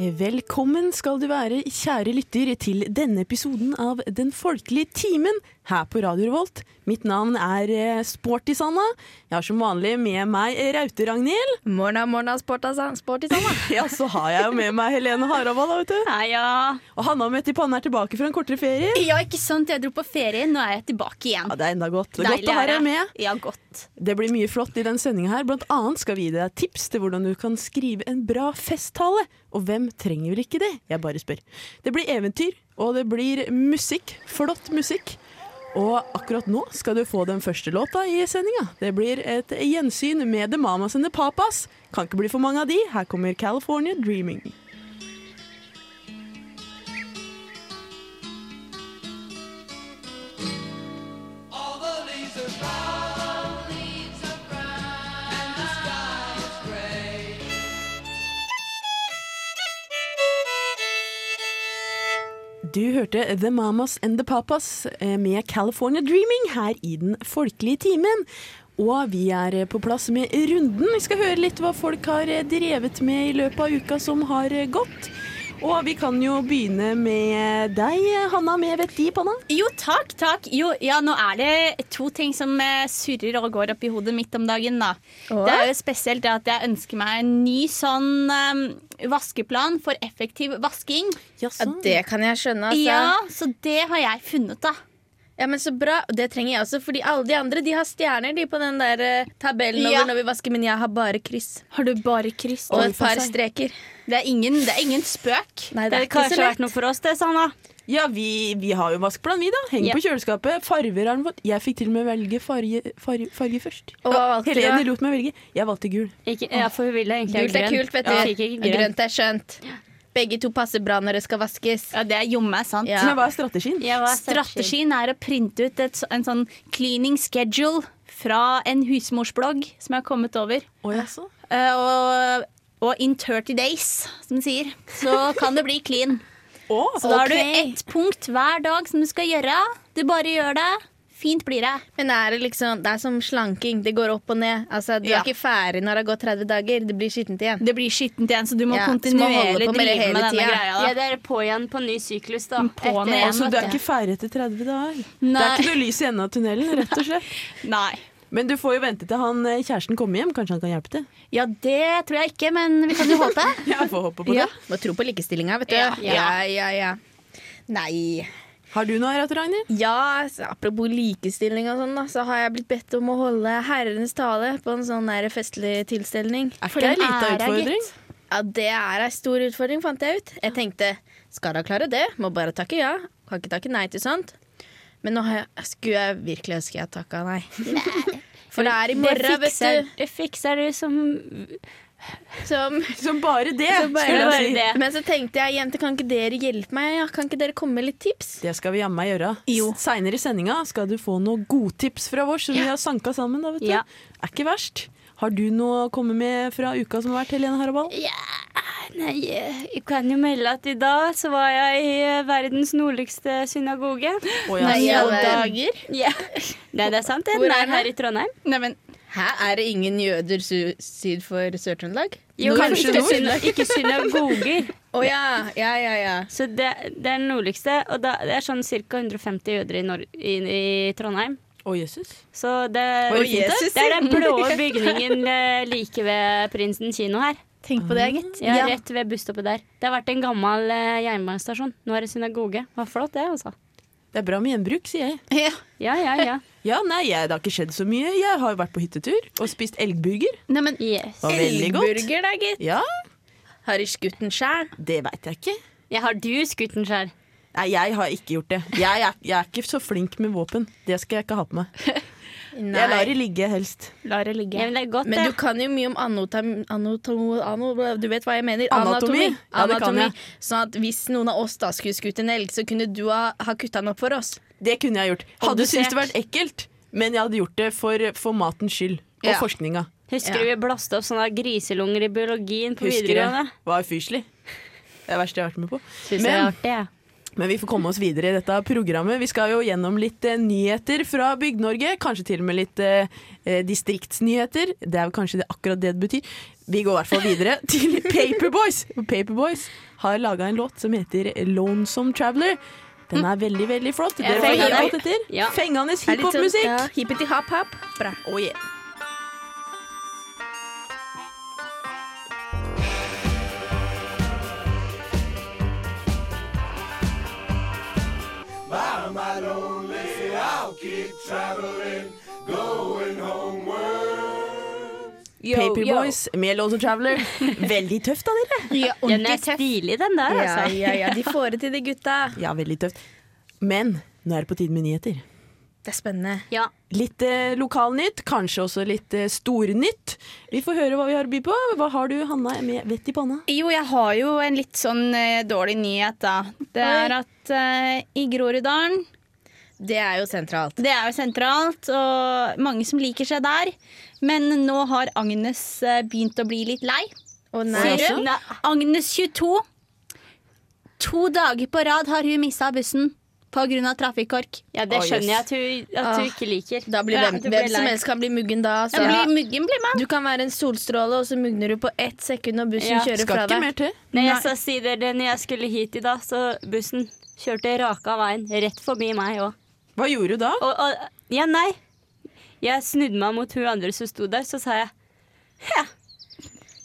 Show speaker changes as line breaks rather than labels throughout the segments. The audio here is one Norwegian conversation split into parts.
Eh, Velkommen skal du være, kjære lytter, til denne episoden av Den folkelige timen her på Radio Revolt. Mitt navn er eh, Sporty Sanna. Jeg har som vanlig med meg Raute-Ragnhild.
Morna, morna, sporta- sportisanna.
Ja, så har jeg jo med meg Helene Haravold, da, vet du.
Heia.
Og Hanna Mette i Panne er tilbake fra en kortere ferie.
Ja, ikke sant. Jeg dro på ferie, nå er jeg tilbake igjen.
Ja, Det er enda godt. Det er godt å ha deg med.
Ja, godt.
Det blir mye flott i den sendinga her. Blant annet skal vi gi deg tips til hvordan du kan skrive en bra festtale. Og hvem trenger vel ikke det? Jeg bare spør. Det blir eventyr, og det blir musikk. Flott musikk. Og akkurat nå skal du få den første låta i sendinga. Det blir et gjensyn med The Mamas and The Papas. Kan ikke bli for mange av de. Her kommer California Dreaming. Du hørte The Mamas and The Papas eh, med California Dreaming her i den folkelige timen. Og vi er eh, på plass med runden. Vi skal høre litt hva folk har eh, drevet med i løpet av uka som har eh, gått. Og vi kan jo begynne med deg, eh, Hanna, med vett i panna.
Jo, takk, takk. Jo, ja, nå er det to ting som eh, surrer og går opp i hodet mitt om dagen, da. Det er jo spesielt det at jeg ønsker meg en ny sånn eh, vaskeplan for effektiv vasking.
Ja, sånn.
Mm.
det kan jeg skjønne. Altså.
Ja,
Ja.
så det har jeg funnet, da.
men Så bra. Og det trenger jeg også, fordi alle de andre de har stjerner de på den der eh, tabellen
Ja.
over når vi vasker, men jeg har bare kryss.
Har du bare kryss?
Og et par streker.
Det er ingen, det er ingen spøk.
Nei, det er
Det hadde
ikke
kanskje
så lett.
vært noe for oss, det, Sanna.
Ja, vi, vi har jo vaskeplan, vi, da. Henger
Ja.
på kjøleskapet. Farver har den fått. Jeg fikk til og med velge farge, farge, farge først.
Og hva valgte du?
Helene
da?
lot meg velge. Jeg valgte gul.
Ikke, ja, for vi ville egentlig ha
Gult er
grønn.
kult, vet du.
Ja. Fikk ikke
Og
grønn.
grønt er skjønt. Begge to passer bra når det skal vaskes.
Ja, det er jomme sant.
Ja.
Men hva er strategien?
Jeg var strategi.
Strategien er å printe ut et, så- en sånn cleaning schedule fra en husmorsblogg som jeg har kommet over.
Å, jaså.
Eh, og, og in 30 days, som de sier, så kan det bli clean.
Å,
Så da har du
Ok.
ett punkt hver dag som du skal gjøre. Du bare gjør det. Fint blir det.
Men er det, liksom, det er som slanking. Det går opp og ned. Altså, Du
Ja.
er ikke ferdig når det har gått 30 dager. Det blir skittent igjen.
Det blir skittent igjen, så du må
Ja, så må
kontinuerlig
holde på med det
drive
hele
med denne
tida.
greia. Da.
Ja, det er på igjen på ny syklus, da.
På
Etter
ned.
igjen,
Så du
vet
Altså, er
du.
ikke ferdig etter 30 dager? Det
Nei.
er ikke noe lys i enden av tunnelen, rett og slett.
Nei.
Men du får jo vente til han eh, kjæresten kommer hjem. Kanskje han kan hjelpe til?
Ja, det tror jeg ikke, men vi kan jo håpe.
Jeg får håpe på
Ja.
det.
Må tro på likestillinga, vet du.
Ja.
ja, ja. ja. Nei.
Har du noe, Rate Ragnhild?
Ja, så apropos likestilling og sånn, da, så har jeg blitt bedt om å holde herrenes tale på en sånn der festlig tilstelning.
Er
For
ikke det en
en
liten
ære,
utfordring?
Ja, det er ei stor utfordring, fant jeg ut. Jeg tenkte skal da klare det, må bare takke ja. Kan ikke takke nei til sånt. Men nå har jeg, skulle jeg virkelig ønske jeg takka nei. For det er i
det,
morgen,
fikser,
vet
det fikser du som
du. Som
Som bare det, skulle
bare
jeg si.
det.
Men så tenkte jeg, jenter, kan ikke dere hjelpe meg? Ja, Kan ikke dere komme med litt tips?
Det skal vi jammen meg gjøre. Seinere i sendinga skal du få noen godtips fra oss som vi har sanka sammen. da, vet du.
Ja.
Er ikke verst. Har du noe å komme med fra uka som har vært, Helene Harabal?
Nei, jeg kan jo melde at i dag så var jeg i eh, verdens nordligste synagoge.
Å, ja.
Nei,
ja,
alle
det-
dager.
Ja. Nei, det er sant. det.
Hvor
Den
er
er
den?
her i Trondheim.
Neimen,
Hæ, er det ingen jøder su- syd for Sør-Trøndelag?
Jo,
Kanskje
ikke,
nord.
syna, ikke synagoger.
Å ja, ja, ja, ja.
Så det, det er den nordligste. Og da, det er sånn ca. 150 jøder i, Nor i, i Trondheim.
Å, jøsses.
Så det,
Var det
fint, da?
det er den blå bygningen eh, like ved Prinsen kino her.
Tenk på det,
Ah,
gitt.
Ja, Rett ved busstoppet der. Det har vært en gammel eh, jernbanestasjon. Nå er det synagoge. Det var flott, det, altså.
Det er bra med gjenbruk, sier jeg.
Ja, ja, ja.
Ja, nei, jeg, Det har ikke skjedd så mye. Jeg har jo vært på hyttetur og spist elgburger.
neimen
Yes.
Det var veldig godt.
Elgburger, da, gitt.
Ja,
Har ikke skutt den sjæl.
Det veit jeg ikke.
Ja, har du skutt den sjøl?
Nei, jeg har ikke gjort det. Jeg er, jeg er ikke så flink med våpen. Det skal jeg ikke ha på meg. Jeg lar det ligge, helst.
La det ligge.
Ja, men det er godt,
Men du
det.
kan jo mye om anotam, anotom, ano, du vet hva jeg mener.
Anatomi. Ja, det kan jeg.
Sånn at hvis noen av oss da skulle skutt en elg, så kunne du ha, ha kutta den opp for oss.
Det kunne jeg gjort. Hadde
Obdusert.
syntes det vært ekkelt, men jeg hadde gjort det for, for matens skyld. Og
Ja.
forskninga.
Husker
Ja.
du vi blåste opp sånne griselunger i biologien på
Husker det.
videregående?
Var fyselig. Det er det verste jeg har vært med på.
Synes jeg
Men
er artig, jeg.
Men vi får komme oss videre i dette programmet. Vi skal jo gjennom litt eh, nyheter fra Bygd-Norge. Kanskje til og med litt eh, eh, distriktsnyheter. Det er jo kanskje det akkurat det det betyr. Vi går i hvert fall videre til Paperboys. For Paperboys har laga en låt som heter 'Lonesome Traveler'. Den er veldig, veldig flott. Dere får
fenger
høre
deg.
alt etter.
Ja.
Fengende
Er litt sånn-
hiphop-musikk.
Ja, Hippity-hap-hap. Bra.
Oh, yeah. Paperboys med Lonesome Traveler. Veldig tøft da, dere.
Den er stilig, den der,
Ja,
altså.
ja, ja. De får det til, de gutta.
Ja, veldig tøft. Men nå er det på tide med nyheter.
Det er spennende.
Ja.
Litt eh, lokalnytt, kanskje også litt eh, stornytt. Vi får høre hva vi har å by på. Hva har du, Hanna, med vett i panna?
Jo, jeg har jo en litt sånn eh, dårlig nyhet, da. Det er at eh, i Groruddalen
Det er jo sentralt.
Det er jo sentralt, og mange som liker seg der. Men nå har Agnes eh, begynt å bli litt lei.
Å
Sier
nei. altså.
Oi.
hun. Agnes 22. To dager på rad har hun mista bussen pga. trafikkork.
ja, det
Å, jøs.
skjønner jeg at du, at du ikke liker.
Da blir
Ja,
hvem,
du blir
hvem som
lei.
helst kan bli muggen da. Så.
Jeg blir muggen, blir man.
Du kan være en solstråle, og så mugner du på ett sekund, og bussen
Ja.
kjører
Skal
fra
ikke
deg.
mer til.
Nei, jeg skal si dere, når jeg skulle hit i dag, så bussen kjørte raka veien. Rett forbi meg òg.
Hva gjorde du da?
Og, og ja, nei. Jeg snudde meg mot hun andre som sto der, så sa jeg ja.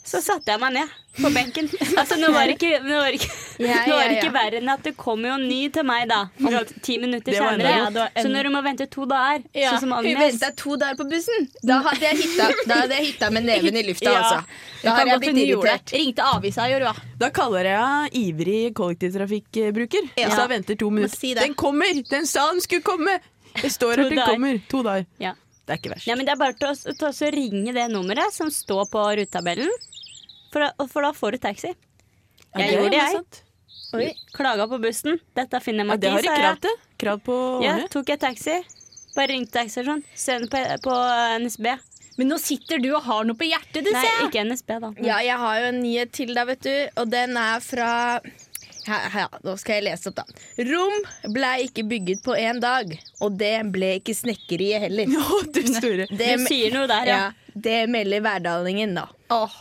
Så satte jeg meg ned på benken. Altså, nå var det ikke, nå var det ikke,
Ja,
nå var det
ja,
ikke
ja.
verre enn at det kom jo en ny til meg, da. Om ti minutter
Det var enda
senere.
godt.
Ja, så når du må vente to dager, sånn som
Hun
Agnes
venta to dager på bussen. Da hadde jeg hitta, da hadde jeg hitta med neven i lufta,
Ja.
altså. Da
Kan
hadde jeg
godt
blitt
hun gjorde det.
irritert.
Ringte avisa, gjorde hun.
Da kaller jeg henne ivrig kollektivtrafikkbruker.
Ja.
Hvis jeg venter to minutter.
si det.
den kommer! Den sa den skulle komme! Det står
To
at den
dager.
kommer. To dager.
ja.
Det er ikke verst.
ja, men det er bare til å, til å ringe det nummeret som står på rutetabellen, for, da- for da får du taxi.
Er sånn.
jeg gjorde det, jeg.
sant?
Oi.
Klaga på bussen. Dette finner
Ja,
man
det
ikke,
har de
sa
krav
jeg.
til. Krav på
Ja,
årene.
tok jeg taxi. Bare ringte taxistasjonen. Send på, på NSB.
Men nå sitter du og har noe på hjertet, du,
Nei,
ser jeg.
ikke NSB, da. Men-
Ja, jeg har jo en nyhet til deg, vet du. Og den er fra ja, ja, Nå skal jeg lese opp, da. Rom ble ikke bygget på én dag. Og det ble ikke snekkeriet heller.
Å, du store.
Det,
Du sier noe der, ja.
ja, det melder Verdalingen, da.
Åh.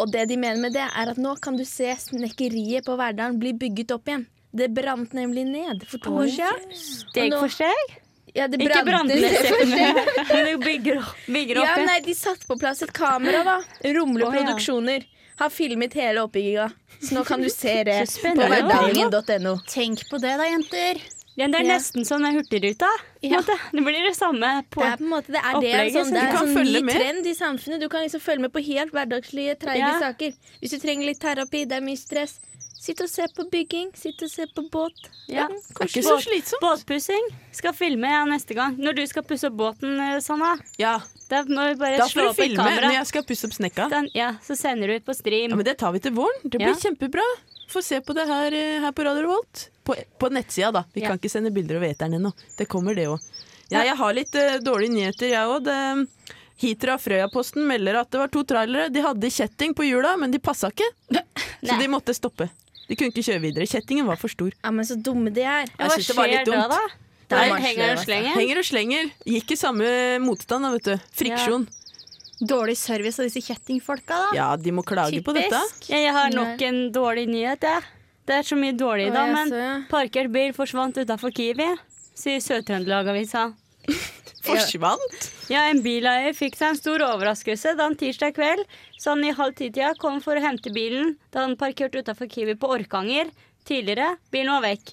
Og det de mener med det, er at nå kan du se snekkeriet på Verdalen bli bygget opp igjen. Det brant nemlig ned for to år siden.
Steg
nå-
for steg.
Ja, det
Ikke
brant
brante
ned
steg, men du bygger opp. Bygger opp
Ja,
igjen.
nei, de satte på plass et kamera, da. Rumle
Å, ja.
Produksjoner har filmet hele oppbygginga. Så nå kan du se det
Så
på
spennende.
verdalingen.no.
Tenk på det, da, jenter.
Ja, det er
Ja.
nesten som den Hurtigruta. på en
Ja.
måte. Det blir det samme på
Det er på en måte det er det, en
Opplegget,
sånn,
så
det
du
er
kan
en sånn
følge
ny
med.
trend i samfunnet. Du kan liksom følge med på helt hverdagslige, treige
Ja.
saker. Hvis du trenger litt terapi, det er mye stress. Sitt og se på bygging, sitt og se på båt.
Ja.
Det er ikke så slitsomt.
Båtpussing skal filme ja, neste gang. Når du skal pusse opp båten, eh, Sanna,
Ja,
da må vi bare
da
slå
får du
opp et
filme
kamera.
når jeg skal pusse opp snekka.
Den, ja, så sender du ut på stream.
Ja, men Det tar vi til våren. Det blir
Ja.
kjempebra. Få se på det her, eh, her på Radio Revolt. På, på nettsida, da. Vi
Ja.
kan ikke sende bilder over eteren ennå. Det kommer, det òg. Ja, jeg har litt eh, dårlige nyheter, jeg òg. Hitra Frøyaposten melder at det var to trailere. De hadde kjetting på hjula, men de passa ikke. Så de måtte stoppe. De kunne ikke kjøre videre. Kjettingen var for stor.
Ja, men så dumme de er.
Ja,
jeg
Hva
synes det var litt
skjer da,
dumt.
da?
Det er
Der henger
marsjer,
og slenger.
Henger og slenger. Gikk i samme motstand, da, vet du. Friksjon.
Dårlig service av disse kjettingfolka, da.
Ja, de må klage på dette.
Ja, jeg har nok en dårlig nyhet, jeg. Det er så mye dårlig i
Å,
dag,
jeg
men
så, ja.
parkert bil forsvant utafor Kiwi, sier Sør-Trøndelag-avisa.
Forsvant.
Ja, en bileier fikk seg en stor overraskelse da han tirsdag kveld sånn i halv ti-tida kom for å hente bilen da han parkerte utafor Kiwi på Orkanger tidligere. Bilen var vekk.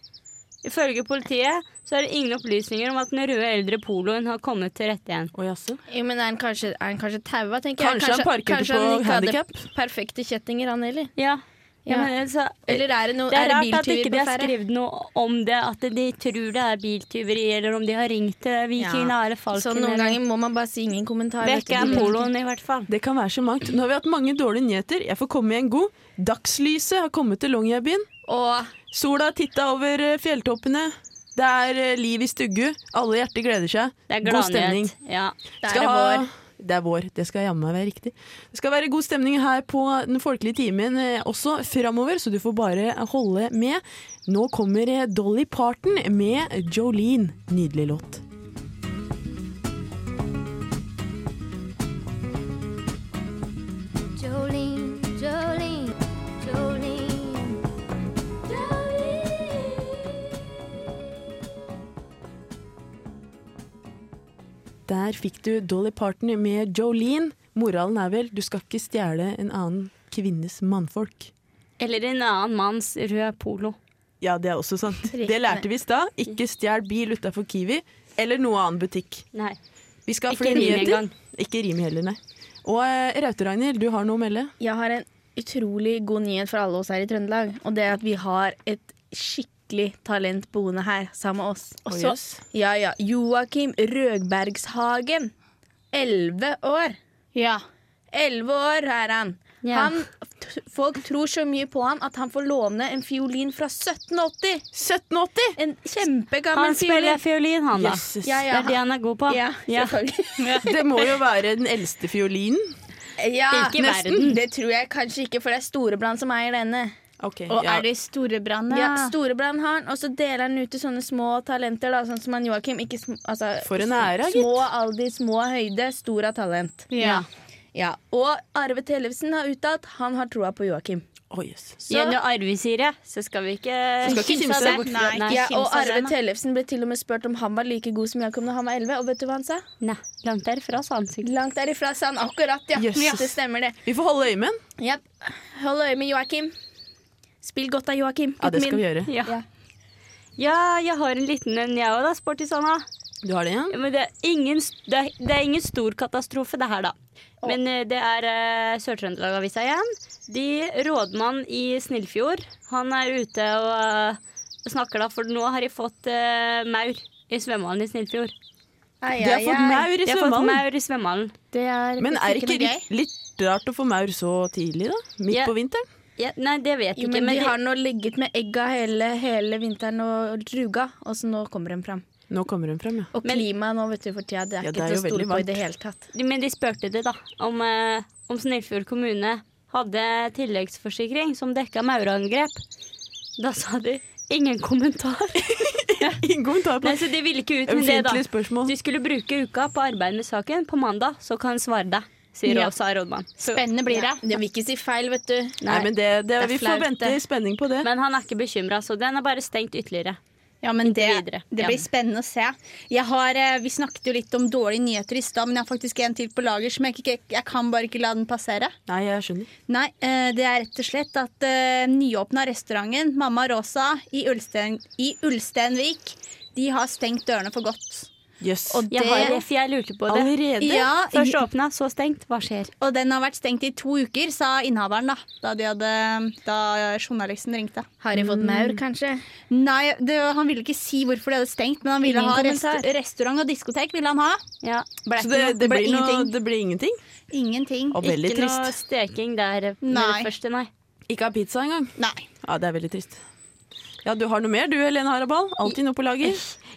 Ifølge politiet så er det ingen opplysninger om at den røde eldre poloen har kommet til rette igjen.
Å jaså.
Jo, men er han kanskje, er han kanskje taua, tenker
Kanskje han
jeg.
parkerte på
ikke hadde
handicap?
perfekte kjettinger, han heller.
Ja, ja,
Ja.
men altså, så,
Eller er det, noe,
Det er,
er det
rart at ikke
biltyver
de
på
har
ferde?
skrevet noe om det, at de tror det er biltyveri, eller om de har ringt til Viking
Ja.
eller Falken.
Så Sånn noen
eller-
ganger må man bare si ingen kommentar. vet
Vekk
du.
er poloen, i hvert fall.
Det kan være så mangt. Nå har vi hatt mange dårlige nyheter. Jeg får komme med en god. Dagslyset har kommet til Longyearbyen.
Og
Sola har titta over eh, fjelltoppene. Det er eh, liv i stugu. Alle hjerter gleder seg.
Det er
god stemning.
gladnyhet. Ja.
der
Skal
er
ha
vår.
Det er vår. Det skal jammen meg være riktig. Det skal være god stemning her på den folkelige timen eh, også framover, så du får bare holde med. Nå kommer eh, Dolly Parton med Jolene. Nydelig låt.
Jolene, Jolene, Jolene, Jolene.
Der fikk du Dolly Parton med Jolene. Moralen er vel du skal ikke stjele en annen kvinnes mannfolk.
Eller en annen manns rød polo.
Ja, det er også sant. Det lærte vi i stad. Ikke stjel bil utafor Kiwi eller noe annen butikk.
Nei.
Vi skal ha
Ikke
flere
rim
nyheter.
engang.
Ikke rim heller, nei. Og eh, Raute Ragnhild, du har noe å melde?
Jeg har en utrolig god nyhet for alle oss her i Trøndelag. Og det er at vi har et skikkelig talent boende her sammen med oss. Og så-
jøss.
ja, ja, Joakim Røgbergshagen. Elleve år.
Ja.
Elleve år er han.
Ja.
han. t- Folk tror så mye på han at han får låne en fiolin fra 1780.
1780!
En kjempegammel
Han spiller
fiolin.
fiolin, han da.
Jøsses.
Ja,
Det er det han er god på.
Ja,
Ja.
selvfølgelig.
Det må jo være den eldste fiolinen.
Ja,
Ikke
nesten.
verden.
Det tror jeg kanskje ikke, for det er Storebrand som eier denne.
Ok,
Og
ja.
er det Storebrand?
Ja, Storebrand har han, og så deler han ut til sånne små talenter, da, sånn som han Joakim. Ikke sm altså,
For en ære, gitt.
Små alder, små høyde, stor av talent.
Ja.
Ja, Og Arve Tellefsen har uttalt han har troa på Joakim.
Å, jøss.
Så-
Gjennom arvesire, så skal vi ikke
Så skal ikke
kimse
kimse.
bort fra-
Nei,
Nei,
ja, og
kimse av
Arve
den, da.
Tellefsen ble til og med spurt om han var like god som Joakim da han var 11, og vet du hva han sa?
Nei, langt derfra, sa han sikkert.
Langt derifra sa han akkurat, ja.
Jøsses.
Ja, Det stemmer, det.
Vi får holde øye med den.
Japp. Hold øye med Joakim. Spill godt av Joakim,
Ja, det
gutten
skal vi
min.
gjøre.
Ja.
Ja.
ja, jeg har en liten en, jeg òg, da, sporty Sanna.
Du har det igjen?
Men det er ingen, det er, det er ingen stor katastrofe, det her, da. Men eh, det er uh, Sør-Trøndelag-avisa igjen. De Rådmann i Snillfjord, han er ute og eh, snakker da, for nå har de fått eh, maur i svømmehallen i Snillfjord.
Ai,
De har
ai,
fått
ai.
maur i
De har fått
svømmehallen.
maur i svømmehallen.
Det er
Men er det ikke
noe gøy.
litt, litt rart å få maur så tidlig, da? Midt
Ja.
på vinteren?
Ja, nei, det vet
Jo,
jeg ikke.
men de
de-
har nå ligget med egga hele, hele vinteren og druga, og så nå kommer de fram.
Nå kommer hun frem, ja.
Og klimaet nå, vet du, for tida, det er
Ja, det er
ikke til
jo
å
veldig
stole på
varmt.
i det hele tatt.
De- Men de spurte det da om, eh, om Snillfjord kommune hadde tilleggsforsikring som dekka maurangrep. Da sa de ingen kommentar.
Ingen kommentar på
Nei, så de ville ikke ut med det, da.
ømfintlige spørsmål.
De skulle bruke uka på arbeid med saken. På mandag så kan han svare deg, sier
Ja.
Åsa rådmann. Så,
Spennende blir det.
Det vil ikke si feil, vet du.
Nei, men det, det,
er
Vi får
flaut,
vente i
det.
spenning på det.
men han er ikke bekymra, så den er bare stengt ytterligere.
Ja, men det,
videre.
det
Ja.
blir spennende å se. Jeg har, eh, vi snakket jo litt om dårlige nyheter i stad, men jeg har faktisk en til på lager som jeg, ikke, jeg kan bare ikke la den passere.
Nei, jeg skjønner.
Nei, eh, det er rett og slett at eh, nyåpna restauranten Mamma Rosa i, Ulstein, i Ulsteinvik de har stengt dørene for godt.
Jøss.
Og
Jeg
det-
har det, for jeg lurte på det.
Allerede?
Ja,
Først åpna, så stengt. Hva skjer?
Og den har vært stengt i to uker, sa innehaveren da, da, de hadde, da journalisten ringte.
Har de fått maur, kanskje?
Nei, det, Han ville ikke si hvorfor de hadde stengt, men han ville
Ingen
ha rest,
kommentar.
restaurant og diskotek. ville han ha.
Ja.
Ble
Så
ikke
det,
noe-
det,
ble
blir noe,
ingenting.
det blir ingenting?
Ingenting.
Og veldig
Ikke noe
trist.
steking der eh, med
Nei.
det første, nei.
Ikke ha pizza engang?
Nei.
Ja, det er veldig trist. Ja, du har noe mer du, Helene Harabal? Alltid noe på lager?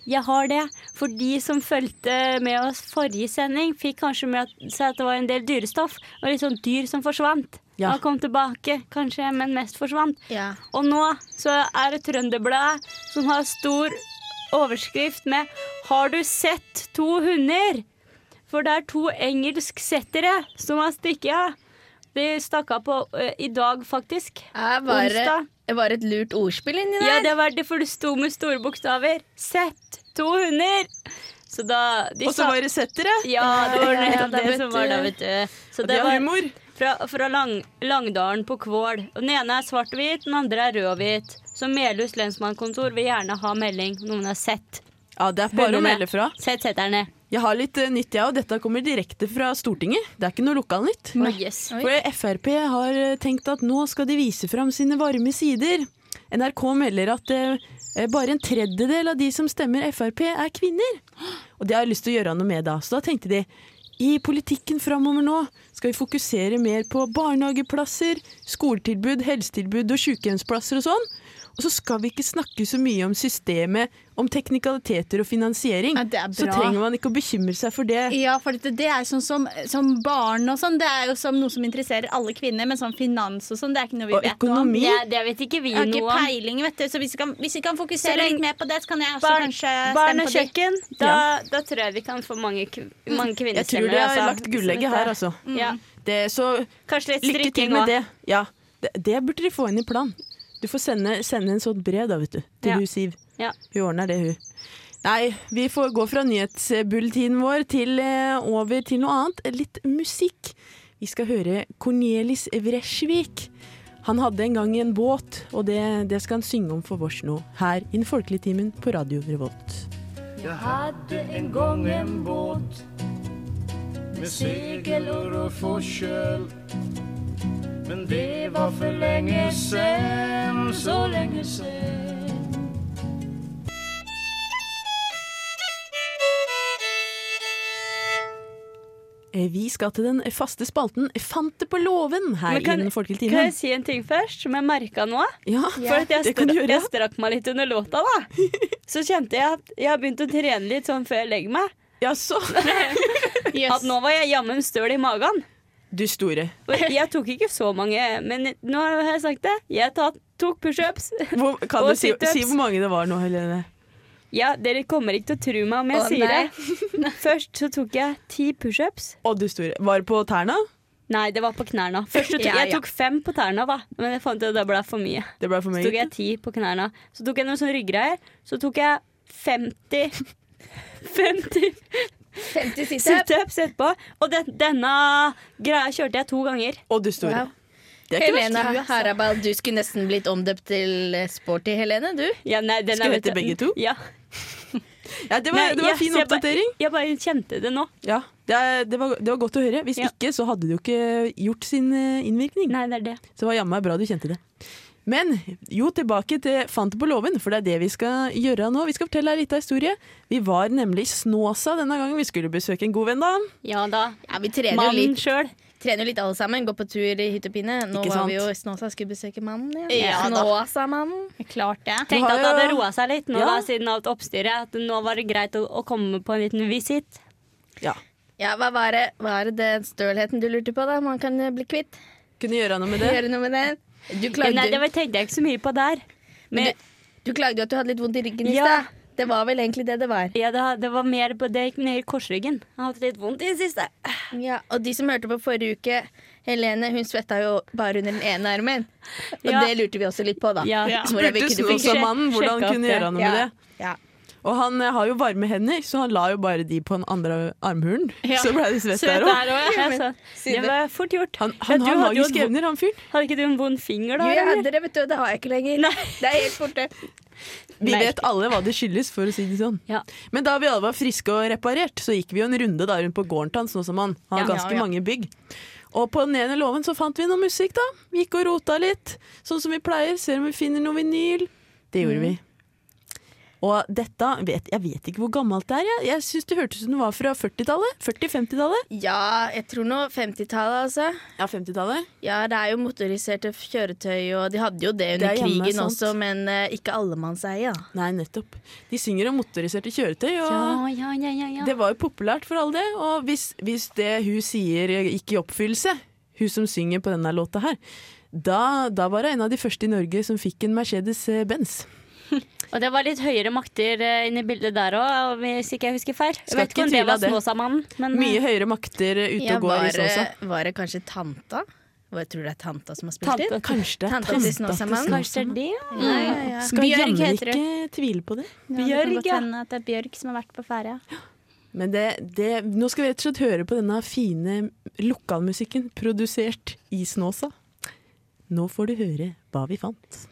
Jeg har det. For de som fulgte med oss forrige sending, fikk kanskje med at- seg at det var en del dyrestoff. Og litt sånn dyr som forsvant.
Ja.
Og kom tilbake, kanskje, men mest forsvant.
Ja.
Og nå så er det Trønderbladet som har stor overskrift med 'Har du sett to hunder?' For det er to engelsksettere som har stukket av. De stakk av på eh, i dag, faktisk.
Er bare,
Onsdag.
det var et lurt ordspill inni der.
Ja, det var derfor det sto med store bokstaver. Sett to hunder! Så da de
Og så
sa-
var det settere!
Ja, det var
Ja, ja,
nettopp
da
det
vet
som var da,
du.
vet du. Så
Og
det
de har
var
humor.
fra, fra lang, Langdalen på Kvål. Og Den ene er svart-hvit, den andre er rød-hvit. Så Melhus lensmannskontor vil gjerne ha melding om noen har sett
Ja, det er bare å
hundene.
melde fra.
Sett setterne.
Jeg har litt eh, nytt, jeg òg. Dette kommer direkte fra Stortinget. Det er ikke noe lokalnytt.
Å, yes.
Oi.
For Frp har eh, tenkt at nå skal de vise fram sine varme sider. NRK melder at eh, eh, bare en tredjedel av de som stemmer Frp, er kvinner. Og det har jeg lyst til å gjøre noe med da. Så da tenkte de i politikken framover nå Skal vi fokusere mer på barnehageplasser, skoletilbud, helsetilbud og sykehjemsplasser og sånn? Og så skal vi ikke snakke så mye om systemet, om teknikaliteter og finansiering.
Ja, det er
så
bra.
trenger man ikke å bekymre seg for det.
Ja, for det, det er sånn som, som barn og sånn. Det er jo som noe som interesserer alle kvinner, men sånn finans og sånn, det er ikke noe vi
Og
vet noe om.
økonomi.
Det, det vet ikke vi
Jeg har
noe
ikke
om.
peiling, vet du. Så hvis vi kan, hvis vi kan
Så
fokusere
lenge-
litt mer på det, så kan jeg også
Barn,
kanskje
barn
stemme
og
på de.
kjøkken, da, da tror jeg vi kan få mange, kv- mange
Jeg tror
kvinnestemmer.
de har
altså. Mm.
lagt gullegget her, altså.
Mm.
Ja.
Det, så
Kanskje litt
lykke til
strikking
med
òg.
det. Ja, det, det burde de få inn i planen. Du får sende, sende en sånn brev da, vet du, til
Ja.
hun Siv.
Ja.
Hun ordner det, hun. Nei, vi får gå fra nyhetsbulletinen vår til eh, over til noe annet. Litt musikk. Vi skal høre Cornelis Vresjvik. Han hadde en gang en båt, og det, det skal han synge om for vårs nå. Her i Den folkelige timen på Radio Revolt.
Jeg hadde en gang en båt med segler og forskjell. Men det var for lenge sen, så lenge sen.
Eh, Vi skal til den faste spalten Fant det på låven her
Men kan-
i Den folkelige
Kan jeg
timen.
si en ting først, som jeg merka nå?
Ja,
For at jeg,
det kan
stra-
du gjøre.
jeg strakk meg litt under låta, da. Så kjente jeg at jeg har begynt å trene litt sånn før jeg legger meg.
Ja, så.
At nå var jeg jammen støl i magen.
Du store.
Og jeg tok ikke så mange, men nå har jeg sagt det. Jeg tatt, tok pushups.
Hvor, kan
Og
du si,
situps.
si hvor mange det var nå, Helene?
Ja, dere kommer ikke til å tro meg om jeg
Å,
sier det. Først så tok jeg ti pushups.
Å, du store. Var det på tærne?
Nei, det var på knærne. Først så tok,
Ja, ja.
Jeg tok fem på tærne, da. men jeg fant ut at det ble for mye.
Det ble for
Så
mye.
tok jeg ti på knærne. Så tok jeg noen sånne ryggreier. Så tok jeg 50 50
50 situps.
situps etterpå. Og den, denne greia kjørte jeg to ganger.
Å, du store.
Wow.
Det er ikke verst.
Helena Harabal, du skulle nesten blitt omdøpt til eh, Sporty Helene, du.
Ja, nei, den
Skal
er-
vi hete begge to?
Ja.
Ja, det var,
Nei,
det var
ja,
en fin
så jeg bare-
oppdatering.
Jeg bare kjente det nå.
Ja, det, er, det, var, det var godt å høre. Hvis
Ja.
ikke, så hadde du ikke gjort sin eh, innvirkning.
Nei, det er det.
Så det var jammen meg bra du kjente det. Men jo, tilbake til Fant det på låven, for det er det vi skal gjøre nå. Vi skal fortelle deg litt av historie. Vi var nemlig i Snåsa denne gangen. Vi skulle besøke en god venn, da.
Ja da.
Ja, vi trener jo
Mannen
litt,
sjøl.
trener jo litt alle sammen. Går på tur i hytt og pine. Nå
Ikke
var
sant?
vi jo i Snåsa, skulle besøke mannen. Ja.
Ja da.
Snåsamannen.
Klart det.
Tenkte
har
at det hadde
jo-
roa seg litt nå
Ja.
da, siden alt oppstyret. At nå var det greit å, å komme på en liten visitt.
Ja.
Ja, hva var det, hva er det den stølheten du lurte på, da? Man kan eh, bli kvitt.
Kunne gjøre noe med det.
Gjøre noe med den. Du
Ja,
klagde,
Nei, det var- tenkte jeg ikke så mye på der. Men
men du, du klagde jo at du hadde litt vondt i ryggen i
Ja.
stad. Det var vel egentlig det det var.
Ja, det, det var mer på det gikk ned i korsryggen. Jeg har hatt litt vondt i det siste.
Ja, og de som hørte på forrige uke, Helene hun svetta jo bare under den ene armen. Og
Ja.
det lurte vi også litt på, da.
Ja. Ja.
Hvordan vi
Spurte
kunne få-
Snåsamannen hvordan
sjekke opp
kunne
det.
gjøre noe med det. Og han eh, har jo varme hender, så han la jo bare de på den andre armhulen.
Ja.
Så ble det svett
Søt
der òg.
der òg, ja.
Ja, så, det var fort gjort.
Han,
Ja,
han
du
har
hadde jo
magiske
et-
evner, han fyren.
Hadde ikke du en vond finger da?
Jo, jeg
eller?
hadde det, vet du. Det har jeg ikke lenger.
Nei.
Det er helt borte.
Vi
Nei.
vet alle hva det skyldes, for å si det sånn.
Ja.
Men da vi alle var friske og reparert, så gikk vi jo en runde da rundt på gården til hans, nå som han har
Ja,
ganske
ja, ja.
mange bygg. Og på den ene låven så fant vi noe musikk, da. Vi gikk og rota litt, sånn som vi pleier. Ser om vi finner noe vinyl. Det gjorde vi. Og dette vet, Jeg vet ikke hvor gammelt det er. Jeg, jeg syns det hørtes ut som det var fra 40-tallet. 40-50-tallet.
Ja, jeg tror nå 50-tallet, altså.
Ja, 50-tallet.
Ja, det er jo motoriserte kjøretøy, og de hadde jo det
Det
under
er jammen
krigen
sant.
også, men eh, ikke allemannseie, da.
Nei, nettopp. De synger om motoriserte kjøretøy, og
Ja, ja, ja, ja, ja.
det var jo populært for alle det. Og hvis, hvis det hun sier gikk i oppfyllelse, hun som synger på denne låta her, da, da var hun en av de første i Norge som fikk en Mercedes-Benz.
Og det var litt høyere makter eh, inne i bildet der òg, hvis ikke jeg husker feil. Jeg
Skal
vet
ikke
ikke om det
tvile
var
av det.
Snåsamannen, men eh,
Mye høyere makter eh, ute
Ja,
og går liksom,
var,
i Snåsa.
det- var det kanskje tanta? Hva, tror du det er tanta som har spilt
Tante.
inn?
Kanskje det er
Tante til
tante
Snåsamannen.
til
kanskje
Snåsamannen.
det er det.
Ja, ja, ja.
Skal
Bjørg
jammen
heter
ikke tvile på det.
Ja, det kan
Bjørg,
godt
ja.
hende at det er Bjørg som har vært på ferie.
Men det, det, nå skal vi rett og slett høre på denne fine lokalmusikken produsert i Snåsa. Nå får du høre hva vi fant.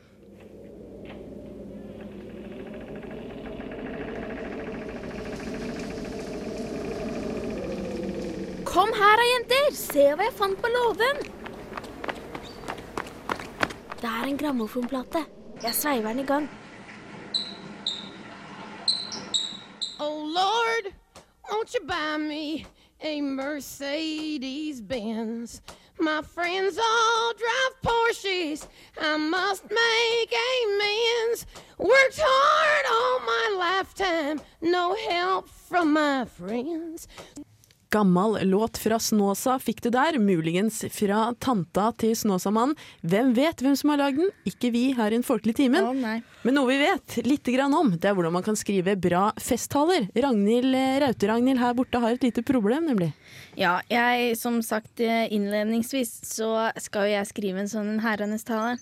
Kom her da, jenter. Se hva jeg fant på låven. Det er en grammofonplate. Jeg sveiver den i gang.
Oh Lord, won't you buy me a Mercedes Benz. My friends all drive Porsches. I must make amends. Worked hard all my lifetime, no help from my friends.
Gammal låt fra Snåsa fikk du der, muligens fra tanta til Snåsamannen. Hvem vet hvem som har lagd den? Ikke vi her i Den folkelige timen.
nei.
Men noe vi vet litt grann om, det er hvordan man kan skrive bra festtaler. Ragnhild eh, Raute-Ragnhild her borte har et lite problem, nemlig.
Ja, jeg, som sagt eh, innledningsvis, så skal jo jeg skrive en sånn en herrenes tale.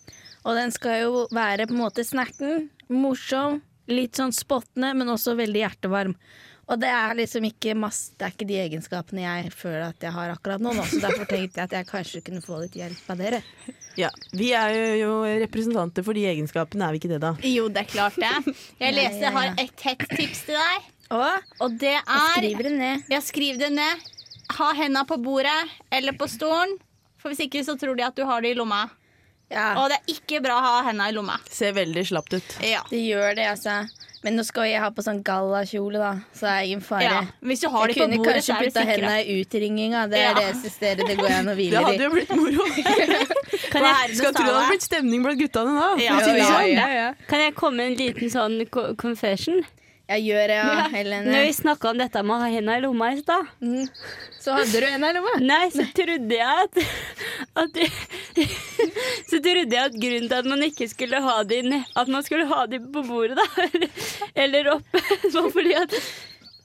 Og den skal jo være på en måte snerten, morsom, litt sånn spottende, men også veldig hjertevarm. Og det er liksom ikke masse, det er ikke de egenskapene jeg føler at jeg har akkurat nå, nå, så derfor tenkte jeg at jeg kanskje kunne få litt hjelp av dere.
Ja, Vi er jo, jo representanter for de egenskapene, er vi ikke det, da?
Jo, det er klart det. Jeg leser, jeg har et hett tips til deg.
Og
Og det er
skriver det ned.
Ja, skriv det ned. Ha henda på bordet eller på stolen. For hvis ikke så tror de at du har det i lomma.
Ja,
Og det er ikke bra å ha henda i lomma.
Ser veldig slapt ut.
Ja.
det gjør det, altså. Men nå skal jeg ha på sånn gallakjole, da, så det er ingen fare.
ja. Hvis du har det
jeg
på
kunne
bordet,
kanskje
så er du
putta
sikra.
henda i utringinga. Det er
Ja.
det eneste stedet det går an å hvile
Det
i.
hadde jo blitt moro.
Kan jeg,
Skal tro det hadde blitt stemning blant guttene da.
Ja,
for å si det
ja,
sånn.
ja, ja.
kan jeg komme med en liten sånn co- confession?
Jeg gjør det, ja, Helene. Mm.
Når vi snakka om dette med å ha henda i lomma i stad,
Så hadde du en her nå,
Nei, så trodde jeg at, at Så trodde jeg at grunnen til at man ikke skulle ha de ned- At man skulle ha de på bordet, da, eller- eller oppe, var fordi at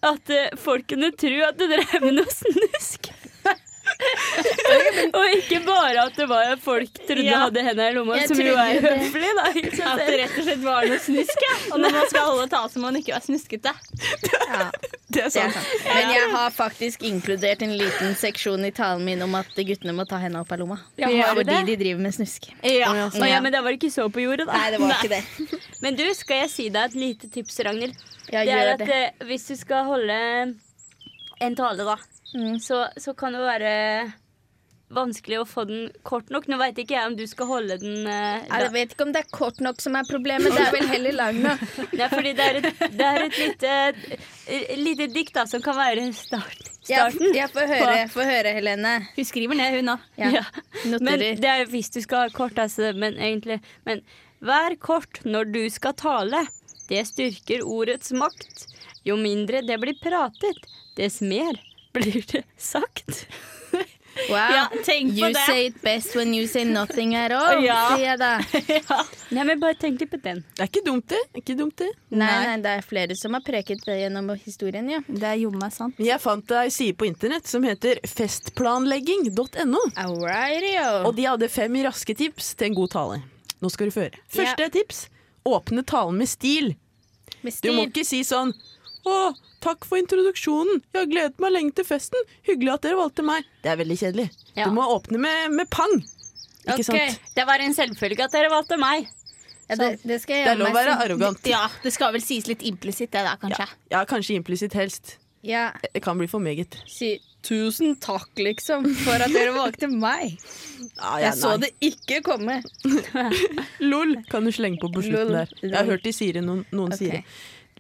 at eh, folk kunne tro at du drev med noe snusk. Og ikke bare at det var at folk trodde
Ja.
hadde henda i lomma,
Jeg
som jo
trodde
er
jo det.
høflig, da. i seg
At det
selv.
rett og slett var noe snusk, ja. Og når man skal holde tale, så må man ikke være snuskete.
Det
Ja,
er
det er
sant.
sant. Men jeg har faktisk inkludert en liten seksjon i talen min om at guttene må ta henda opp av lomma.
Ja, har du
Fordi
det?
de driver med snusk.
Ja.
Å ja, men det var ikke så på jordet, da.
Nei, det var ikke det.
Men du, skal jeg si deg et lite tips, Ragnhild?
Jeg
Det er
gjør
at
det.
eh, hvis du skal holde en tale, da,
Mm.
så, så kan det være vanskelig å få den kort nok. Nå veit ikke jeg om du skal holde den eh,
Jeg vet ikke om det er kort nok som er problemet. Det er vel heller lang nok.
da. Nei, fordi det er et, det er et lite, et lite dikt da, som kan være start,
Jeg,
starten.
jeg får høre, få høre, Helene.
Hun skriver ned, hun òg.
Ja.
Ja. Men
Noterer.
det er jo hvis du skal ha kort, altså, men egentlig Men vær kort når du skal tale. Det styrker ordets makt. Jo mindre det blir pratet, dess mer blir det sagt.
Wow.
Ja, tenk på
You
det.
say it best when you say nothing at all,
Ja.
sier jeg da.
Nei, men bare tenk litt på den.
Det er ikke dumt, det. Ikke dumt det.
Nei, nei, det er flere som har preket det gjennom historien, ja.
Det er jommen sant.
Jeg fant ei side på internett som heter festplanlegging.no.
Alrighty-o.
Og de hadde fem raske tips til en god tale. Nå skal du få høre. Første tips åpne talen med stil.
Med
Du må
stil.
ikke si sånn Å, takk for introduksjonen. Jeg har gledet meg lenge til festen. Hyggelig at dere valgte meg. Det er veldig kjedelig.
Ja.
Du må åpne med, med pang. Ikke sant?
Det var en selvfølge at dere valgte meg.
Ja, det, sånn. det skal jeg
Det er
gjøre
lov å
meg
være
som-
arrogant.
Ja, det skal vel sies litt implisitt, det der, kanskje.
Ja, kanskje implisitt helst.
Ja,
Det kan bli for meget.
si tusen takk, liksom, for at dere valgte meg.
Ah, Ja, ja,
Jeg så
nei.
det ikke komme.
LOL kan du slenge på på slutten
Lol.
der. Jeg har hørt de sier det, noen, noen
Ok.
sier det.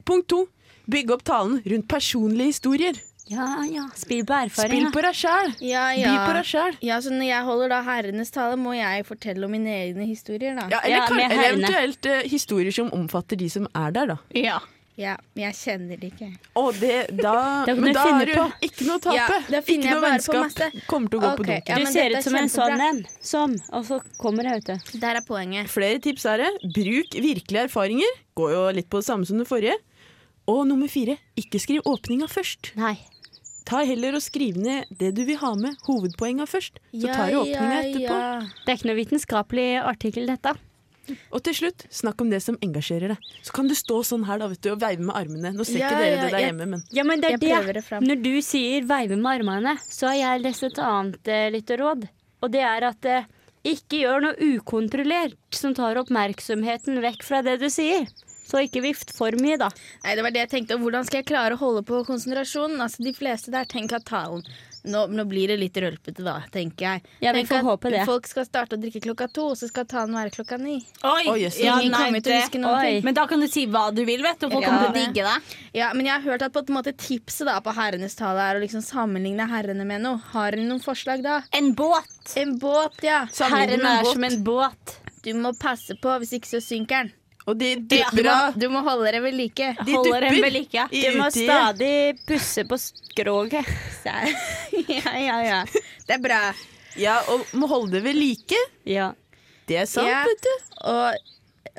Punkt to. Bygge opp talen rundt personlige historier.
Ja, ja. Spill på
Spill
erfaring.
på deg sjæl.
Ja,
By på
ja.
deg sjæl.
ja, så når jeg holder da herrenes tale, må jeg fortelle om mine egne historier, da.
Ja, eller,
Ja,
kan,
med
eller
herrene.
eventuelt eh, historier som omfatter de som er der, da.
Ja.
Ja, men jeg kjenner det ikke.
Og det, da,
Da kan
men
du
da
finne
har du
på.
ikke noe å tape.
Ja, da finner
ikke
jeg
noe
bare på
vennskap
masse.
kommer til å gå
Ok,
på dunken.
ja,
Du
men
ser
dette
ut
er
som en sånn
kjempebra.
en. Sånn. Og så kommer jeg ute.
Der er poenget.
Flere tips er det. Bruk virkelige erfaringer. Går jo litt på det samme som det forrige. Og nummer fire, ikke skriv åpninga først.
Nei.
Ta heller og Skriv ned det du vil ha med, hovedpoenga først. Så tar du åpninga etterpå.
Det er ikke noe vitenskapelig artikkel, dette.
Og til slutt, snakk om det som engasjerer deg. Så kan du stå sånn her da, vet du, og veive med armene. Nå ser
Ja,
ikke dere
ja,
det der
ja.
hjemme, men
Ja, men det er
Jeg prøver
det.
det fram.
Når du sier veive med armene, så har jeg lest et annet eh, lite råd. Og det er at eh, ikke gjør noe ukontrollert som tar oppmerksomheten vekk fra det du sier. Så ikke vift for mye, da.
Nei, det var det jeg tenkte. Og hvordan skal jeg klare å holde på konsentrasjonen? Altså, de fleste der tenker at talen nå, nå blir det litt rølpete, da, tenker jeg.
Ja, vi
Tenk
får
at
håpe det.
Folk skal starte å drikke klokka to, så skal tanen være klokka ni.
Oi,
Oi, jøss.
ja,
Ingen
nei,
kommer til å
det-
huske noen ting.
Men da kan du si hva du vil, vet du. og Folk
Ja.
kommer til å digge deg.
Ja, men jeg har hørt at på en måte tipset da på herrenes tale er å liksom sammenligne herrene med noe. Har dere noen forslag da?
En båt.
En båt, ja.
Sammenligne
Herren
med en
er
båt.
som en båt.
Du må passe på, hvis ikke så synker den.
Og de
Du
dupper
må,
av.
du må holde dere ved like.
De
Holder en
dupper
ved like.
i
Du må
uti.
stadig pusse på skroget.
ja, ja, ja. Det er bra.
Ja, og må holde det ved like.
Ja.
Det er sant,
Ja.
vet du.
Og,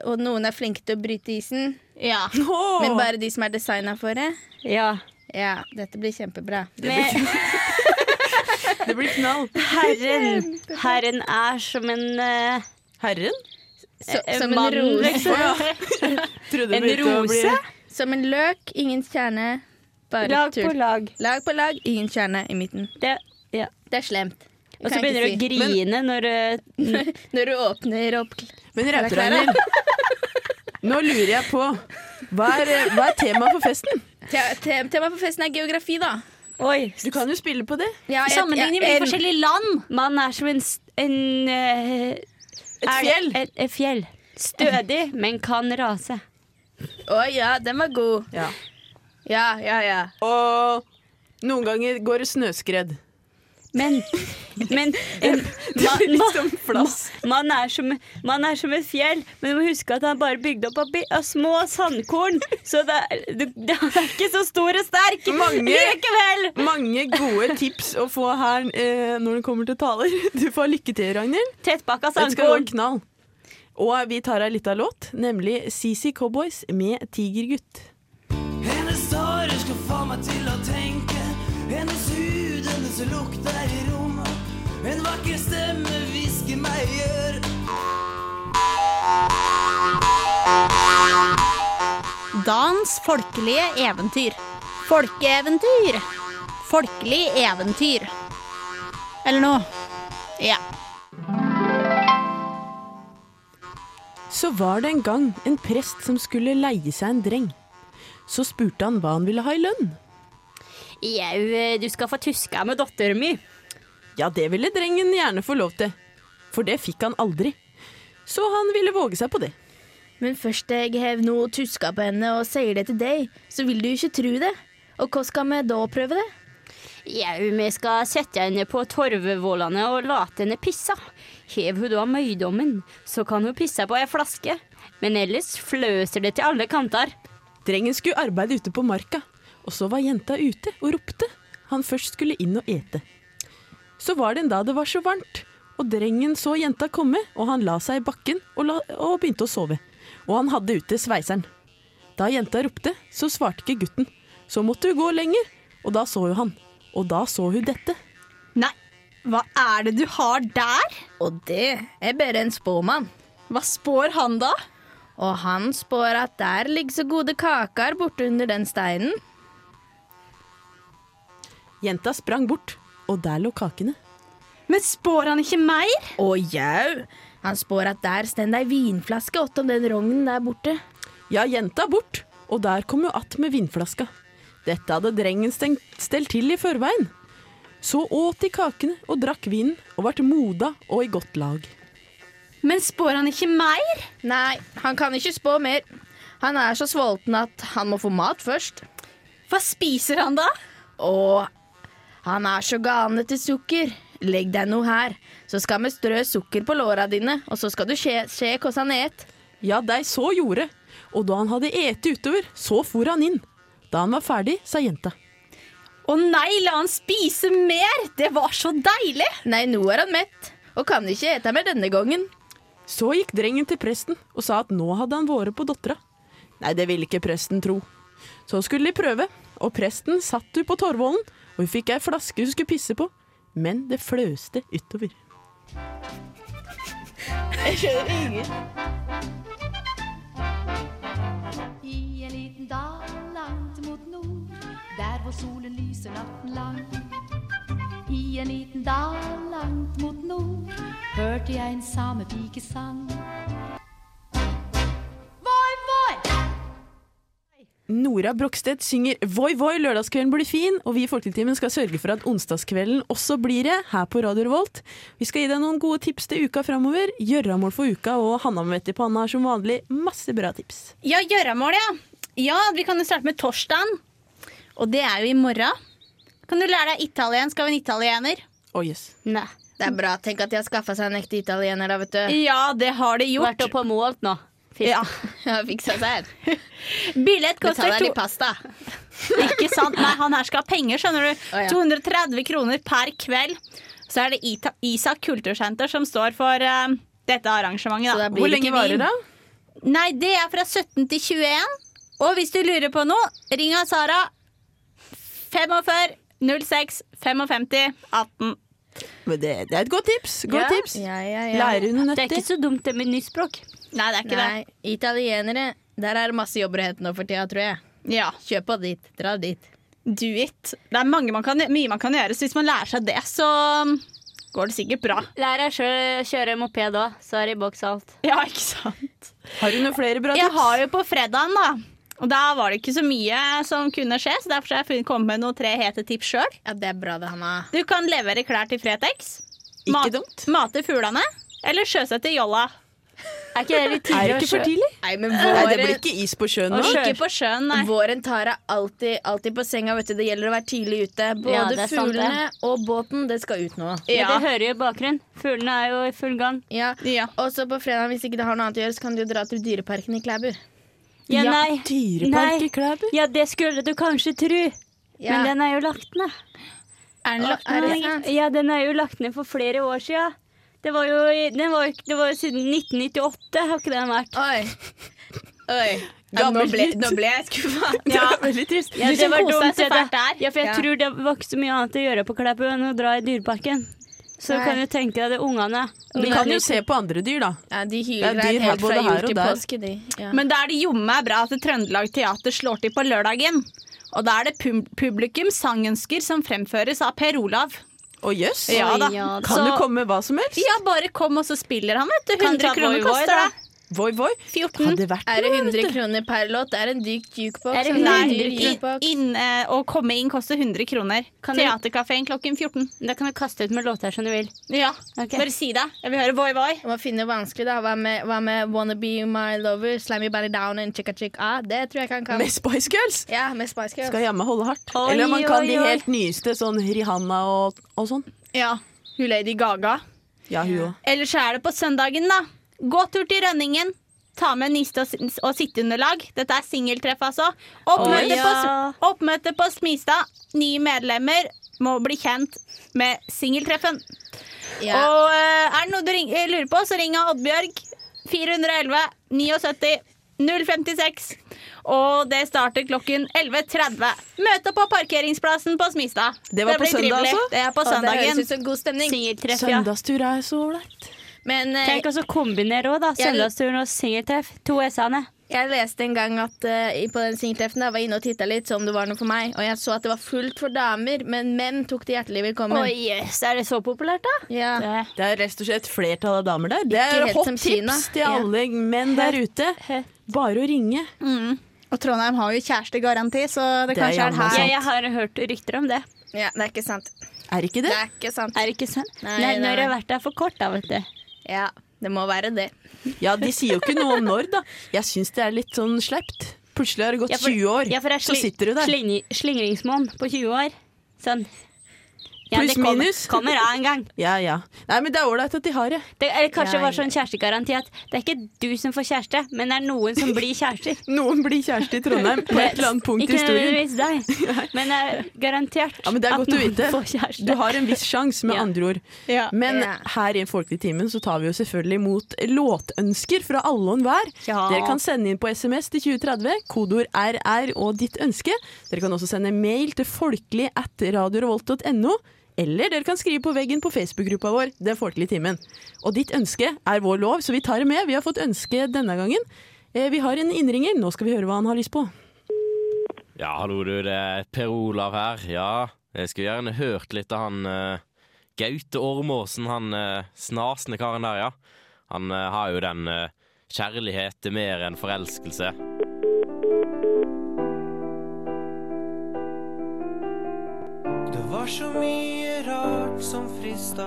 og noen er flinke til å bryte isen,
Ja.
Nå.
men bare de som er designa for det.
ja.
Ja, dette blir kjempebra.
Men
Det blir knall.
herren, herren er som en eh,
Herren?
Så,
eh,
som, en
mann,
rose,
liksom.
Trodde
En
det begynte å bli-
rose?
som en løk, ingen kjerne, bare
Lag på
tull.
lag.
Lag på lag, ingen kjerne i midten.
Det, ja.
Det er slemt. Det
Og så
kan jeg
begynner du å
ikke si.
grine når eh,
Når du åpner opp
Men Rautereiner, nå lurer jeg på hva er, hva er temaet for festen?
Te- te- Temaet for festen er geografi, da.
Oi.
Du kan jo spille på det.
Ja, jeg-
Sammenligning
jeg-
med forskjellige land.
Man er som en, s- en eh,
Et
er-
fjell.
Et, et fjell. Stødig, men kan rase.
Å ja, den var god.
Ja.
Ja, ja, ja.
Og noen ganger går det snøskred.
Men, men en,
Det blir
man,
liksom flass.
man, er som, man er som et fjell, men du må huske at han bare bygde opp av, bi- av små sandkorn. Så det er, det, det er ikke så stor og sterk
Mange-
likevel.
Mange gode tips å få her eh, når det kommer til taler. Du får lykke til, Ragnhild.
Tettpakka
Det skal gå
sandkorn.
knall. Og vi tar ei lita låt, nemlig CC Cowboys med Tigergutt.
Hennes tårer skal få meg til å tenke Hennes hud, hennes lukt der i rommet En vakker stemme hvisker meg i øret
Dans folkelige eventyr. Folkeeventyr. Folkelig eventyr. Eller noe. Ja.
Så var det en gang en prest som skulle leie seg en dreng. Så spurte han hva han ville ha i lønn.
Jau, eh, du skal få tuska med datteren min.
Ja, det ville drengen gjerne få lov til, for det fikk han aldri. Så han ville våge seg på det.
Men først jeg hev noe tuska på henne og sier det til deg, så vil du jo ikke tru det. Og hva skal vi da prøve det?
Jau, vi skal sette henne på torvevollene og late henne pisse. Hev hun da møydommen, så kan hun pisse på ei flaske. Men ellers fløser det til alle kanter.
Drengen skulle arbeide ute på marka, og så var jenta ute og ropte. Han først skulle inn og ete. Så var det en dag det var så varmt, og drengen så jenta komme, og han la seg i bakken og, la, og begynte å sove. Og han hadde ute sveiseren. Da jenta ropte, så svarte ikke gutten. Så måtte hun gå lenger, og da så hun han. Og da så hun dette.
Nei, hva er det du har der?
Og det er bare en spåmann.
Hva spår han da?
Og han spår at der ligger så gode kaker borte under den steinen.
Jenta sprang bort, og der lå kakene.
Men spår han ikke mer?
Å jau! Han spår at der stender ei vinflaske åttom den rognen der borte.
Ja, jenta bort, og der kom jo att med vinflaska. Dette hadde drengen stengt, stelt til i forveien. Så åt de kakene og drakk vinen og vart moda og i godt lag.
Men spår han ikke mer?
Nei, han kan ikke spå mer. Han er så sulten at han må få mat først.
Hva spiser han da?
Og han er så gane til sukker. Legg deg noe her, så skal vi strø sukker på låra dine, og så skal du se se hvordan han et.
Ja, dei så gjorde, og da han hadde ete utover, så for han inn. Da han var ferdig, sa jenta.
Å nei, la han spise mer! Det var så deilig!
Nei, nå er han mett, og kan ikke ete mer denne gangen.
Så gikk drengen til presten og sa at nå hadde han vært på dattera. Nei, det ville ikke presten tro. Så skulle de prøve, og presten satt hun på Torvollen, og hun fikk ei flaske hun skulle pisse på, men det fløste utover.
I en liten dal langt mot nord, der hvor solen lyser natten lang. I en liten dal langt mot nord, hørte jeg en samepikesang. Voi, voi!
Nora Brokstedt synger Voi voi, lørdagskvelden blir fin, og vi i Folketimen skal sørge for at onsdagskvelden også blir det, her på Radio Revolt. Vi skal gi deg noen gode tips til uka framover. Gjøramål for uka og Hanna med vett i panna har som vanlig masse bra tips.
Ja, gjøremål, ja. Ja, Vi kan jo starte med torsdagen. Og det er jo i morgen. Kan du lære deg italiensk av en italiener?
Å, jøss.
Nei.
Det er bra. Tenk at de har skaffa seg en ekte italiener, da, vet du.
Ja, det har det gjort.
Vært oppe på Moholt nå.
Ja.
Ja, fiksa seg her.
Billett koster
Betaler
to...
de pasta?
Ikke sant? Nei, han her skal ha penger, skjønner du.
Å, ja.
230 kroner per kveld. Så er det Ita Isak kultursenter som står for eh, dette arrangementet.
Så
Da.
da blir
Hvor lenge varer det?
Nei, det er fra 17 til 21. Og hvis du lurer på noe, ring av Sara. 45 06 55 18.
Men det, det er et godt tips. Godt tips.
Ja, ja, ja.
Lærer hun
Det er
nøtter?
ikke så dumt det med nyspråk.
Nei, det er ikke
Nei, italienere. Der er det masse jobber å hente nå for tida, tror jeg.
det. Ja.
Kjøp og dit. Dra dit.
Do it. Det er mange man kan, mye man kan gjøre, så hvis man lærer seg det, så går det sikkert bra.
Lær deg sjøl å kjøre moped òg, så er det i boks alt.
Ja, ikke sant?
Har hun noen flere bra
Jeg
tips?
har jo på fredagen, da. Og da var det ikke så mye som kunne skje, så derfor har jeg funnet- kommet med noen tre hete tips sjøl.
Ja, det er bra det, Hanna.
Du kan levere klær til Fretex.
Ikke dumt.
Mate fuglene. Eller sjøsette jolla.
Er ikke det litt
Er
tidlig
det
å
ikke for
kjø-
tidlig?
Nei, men
Nei, det blir
våren,
ikke is på sjøen
Å,
nå.
sjø.
Ikke på sjøen, nei.
våren tar deg alltid, alltid på senga, vet du. Det gjelder å være tidlig ute.
Ja,
Både
det er sant, det.
fuglene og båten, det skal ut nå.
Ja.
Ja.
Det hører jo i bakgrunnen. Fuglene er jo i full gang.
Ja.
Ja.
Og så på fredag, hvis ikke det har noe annet å gjøre, så kan du jo dra til Dyreparken i Klæbu.
Ja,
Ja,
nei.
Dyrepark i Klæbu.
Ja, det skulle du kanskje tru,
Ja.
men den er jo lagt ned.
Er den lagt
Er det
ned?
sant?
Ja, den er jo lagt ned for flere år sia. Det var jo, i- den var, jo ikke- det var jo siden 1998, har ikke den vært.
Oi. Oi. Ja, nå, ble, nå ble jeg skuffa.
Det er veldig trist.
Ja,
Du
det
som
var
koste deg
dumt,
så
det der.
fælt der.
Ja, for jeg
Ja.
tror det var ikke så mye annet å gjøre på Klæbu enn å dra i Dyreparken. Så
Nei.
kan du tenke deg det ungene.
Du kan jo se på andre dyr, da.
Ja, de
Det er
hyler
dyr
deg
her,
helt fra
både her
jul
og
til
der.
påske, de. Ja.
Men da er det jomme meg bra at Trøndelag Teater slår til på lørdagen. Og da er det pub publikum sangønsker som fremføres av Per Olav.
Å jøss.
Ja da.
Kan det
Så-
komme hva som helst?
Ja, bare kom, og så spiller han, vet du.
Kan
100
ta
kroner
Voi Voi,
koster
da.
det.
Voi, voi.
14.
Hadde vært
Er det
noe,
100
vet du.
kroner per låt? Det er en dyk jukebox.
Er det
altså, en
100
dyr
I-
jukebox.
inn, eh, å komme inn koster 100 kroner.
Kan du-
Teaterkafeen klokken 14.
Da kan du kaste ut med låter som du vil.
Ja,
Ok.
Bare si det. Jeg vil høre Voi Voi.
Jeg må finne vanskelig, da. Hva med, hva med Wanna Be My Lover, Slam Your Body Down and Chicka Chick Ah? Det tror jeg kan kan.
Med Spice Girls.
Ja, med Spice Girls.
Skal jammen holde hardt.
Oi,
Eller man kan
oi,
de
oi.
helt nyeste, sånn Rihanna og, og sånn.
Ja, Hun Lady Gaga.
Ja, hun òg.
Ellers er det på søndagen, da. Gå tur til Rønningen. Ta med niste og, s- og sitteunderlag. Dette er singeltreff, altså. Oppmøte, på,
Oi. Ja.
s- oppmøte på Smistad. Nye medlemmer må bli kjent med singeltreffen.
Ja.
Og eh, er det noe du ring, eh, lurer på, så ring av Oddbjørg. 411 79 056. Og det starter klokken 11.30. Møte på parkeringsplassen på Smistad.
Det var på
blir
søndag,
trivelig.
altså?
Det er på
Å, Det høres
søndagen.
ut som god stemning.
Singeltreff, ja.
Søndagstur er så ålreit.
Men eh,
Tenk også å kombinere òg, da.
Jeg-
Søndagsturen og singeltreff. To S-ene.
jeg leste en gang at eh, på den singeltreffen da, jeg var inne og titta litt, så om det var noe for meg. Og jeg så at det var fullt for damer, men menn tok det hjertelig velkommen.
Oi, yes. Er det så populært, da?
Ja.
Det.
Det er rett og slett flertall av damer der. Det
Ikke
er
helt
hot
som
tips
Kina.
til
Ja.
alle menn der ute. Bare å ringe.
Mm.
Og Trondheim har jo kjærestegaranti, så det,
Det er
kanskje er
jammen
her.
Ja, jeg har hørt rykter om det.
ja, det er ikke sant.
Er ikke
Det
det?
er ikke sant.
Er det ikke sant?
Nei,
Nei,
nei.
Når jeg har vært der for kort, da, vet du.
Ja, det må være det.
Ja, de sier jo ikke noe om når, da. Jeg syns det er litt sånn sleipt. Plutselig har det gått
Ja, for-
20 år,
ja, for jeg er
så
sli-
sitter du der.
Sling, slingringsmonn på 20 år. Sånn.
Pluss
det kommer-
minus.
Kommer av en gang.
Ja, ja. Nei, men det er ålreit at de har det.
Det, eller kanskje
Ja,
det var sånn kjærestegaranti at det er ikke du som får kjæreste, men det er noen som blir kjærester.
Noen blir kjæreste i Trondheim på et eller annet punkt i
Ikke
historien.
nødvendigvis deg, men det er garantert
Ja, men det er godt
at
å
noen
vite.
får kjæreste.
Du har en viss sjanse, med
Ja.
andre ord.
Ja.
Men
Ja.
her i Folkelig timen så tar vi jo selvfølgelig imot låtønsker fra alle og enhver.
Ja.
Dere kan sende inn på SMS til 2030, kodeord RR og ditt ønske. Dere kan også sende mail til folkelig at radiorevolt.no. Eller dere kan skrive på veggen på Facebook-gruppa vår Den folkelige timen. Og ditt ønske er vår lov, så vi tar det med. Vi har fått ønske denne gangen. Eh, Vi har en innringer. Nå skal vi høre hva han har lyst på.
Ja, hallo du, det er Per Olav her. Ja, jeg skulle gjerne hørt litt av han eh, Gaute Ormåsen, han uh, snasende karen der, ja. Han eh, har jo den eh, kjærlighet er mer enn forelskelse.
så mye rart som frista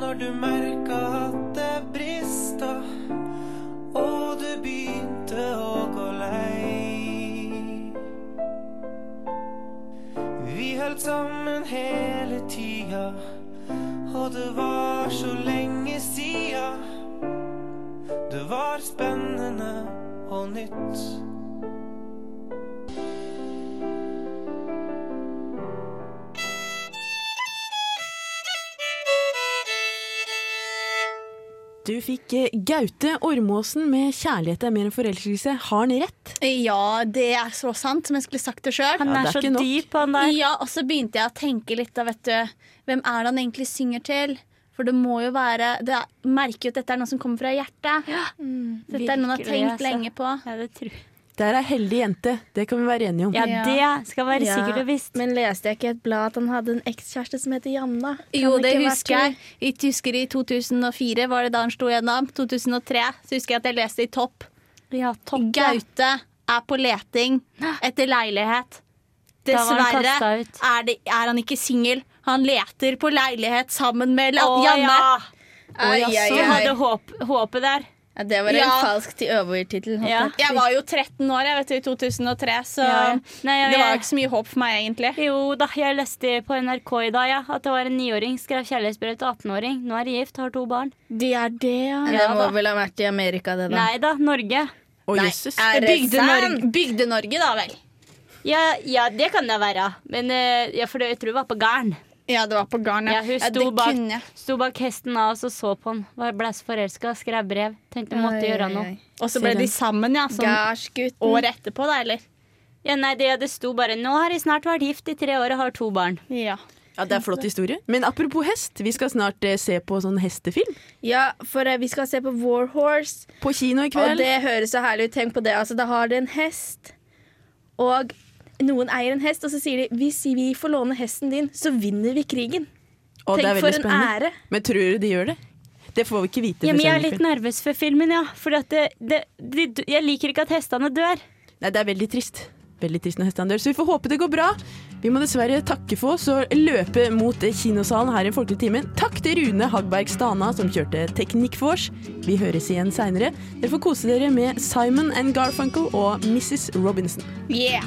når du merka at det brista, og du begynte å gå lei. Vi holdt sammen hele tida, og det var så lenge sia. Det var spennende og nytt.
Du fikk eh, Gaute Ormåsen med 'Kjærlighet er mer enn forelskelse'. Har han rett?
Ja, det er så sant, som jeg skulle sagt det sjøl.
Han
det
er
er
så
ikke nok.
dyp, han der.
Ja, og så begynte jeg å tenke litt da, vet du. Hvem er det han egentlig synger til? For det må jo være Det er- merker jo at dette er noe som kommer fra hjertet. dette er noe han har
virkelig,
tenkt
altså.
lenge på.
Ja, det, tror. jeg.
Det er ei heldig jente, det kan vi være enige om.
ja,
Ja.
det skal være
Ja,
sikkert og visst.
Men leste jeg ikke i et blad at han hadde en ekskjæreste som heter Janna? Kan
Jo, det
ikke vært
husker jeg. I tysker i 2004 var det da han slo gjennom. 2003 så husker jeg at jeg leste i Topp.
Ja, topp, ja.
Gaute er på leting etter leilighet.
Da var han
Dessverre
kastet ut.
er, det, er han ikke singel. Han leter på leilighet sammen med la-
Å,
Janne.
ja.
Ai, ai,
Så
ai.
hadde håp, håpet der.
Ja, det var en
Ja.
falsk til overtittel. holdt
Ja.
jeg på å si.
Jeg var jo 13 år jeg vet du, i 2003, så
Ja, ja. Nei, jeg-
det var jo ikke så mye håp for meg, egentlig.
Jo da, jeg leste på NRK i dag ja, at det var en niåring skrev kjærlighetsbrev til 18-åring. Nå er de gift, har to barn.
Det er det,
Men det må vel ha vært i Amerika, det, da.
Nei da, Norge.
Å,
Nei,
jøsses.
er det sant?
Bygde-Norge, Bygde-Norge da vel.
Ja, ja, det kan det være. Men eh, ja, for det, jeg tror det var på Garn.
Ja, det var på garn,
Ja, hun sto,
det
bak,
kunne jeg.
sto bak hesten av oss og så på han. Var- Ble så forelska, skrev brev. Tenkte jeg måtte
Oi,
gjøre
oi,
noe.
oi.
Og så ble de sammen, ja. Sånn
Gardsgutten.
året etterpå, da, eller?
Ja, nei, det, det sto bare 'Nå har de snart vært gift i tre år og har to barn'.
Ja.
Ja, det er flott historie. Men apropos hest, vi skal snart eh, se på sånn hestefilm.
Ja, for eh, vi skal se på War Horse,
På kino i
og
kveld.
det høres så herlig ut. Tenk på det. Altså, da har de en hest, og noen eier en hest, og så sier de hvis vi får låne hesten din, så vinner vi krigen.
Å, det er
Tenk for
veldig
en
spennende.
ære.
Men tror du de gjør det? Det får vi ikke vite.
Ja,
før
men jeg er
senere i
litt
kveld.
nervøs for filmen, ja. For jeg liker ikke at hestene dør.
Nei, det er veldig trist. Veldig trist når hestene dør. Så vi får håpe det går bra. Vi må dessverre takke for oss og løpe mot kinosalen her i Folkelig timen. Takk til Rune Hagberg Stana som kjørte teknikk for oss. Vi høres igjen seinere. Dere får kose dere med Simon and Garfunkel og Mrs. Robinson.
Yeah.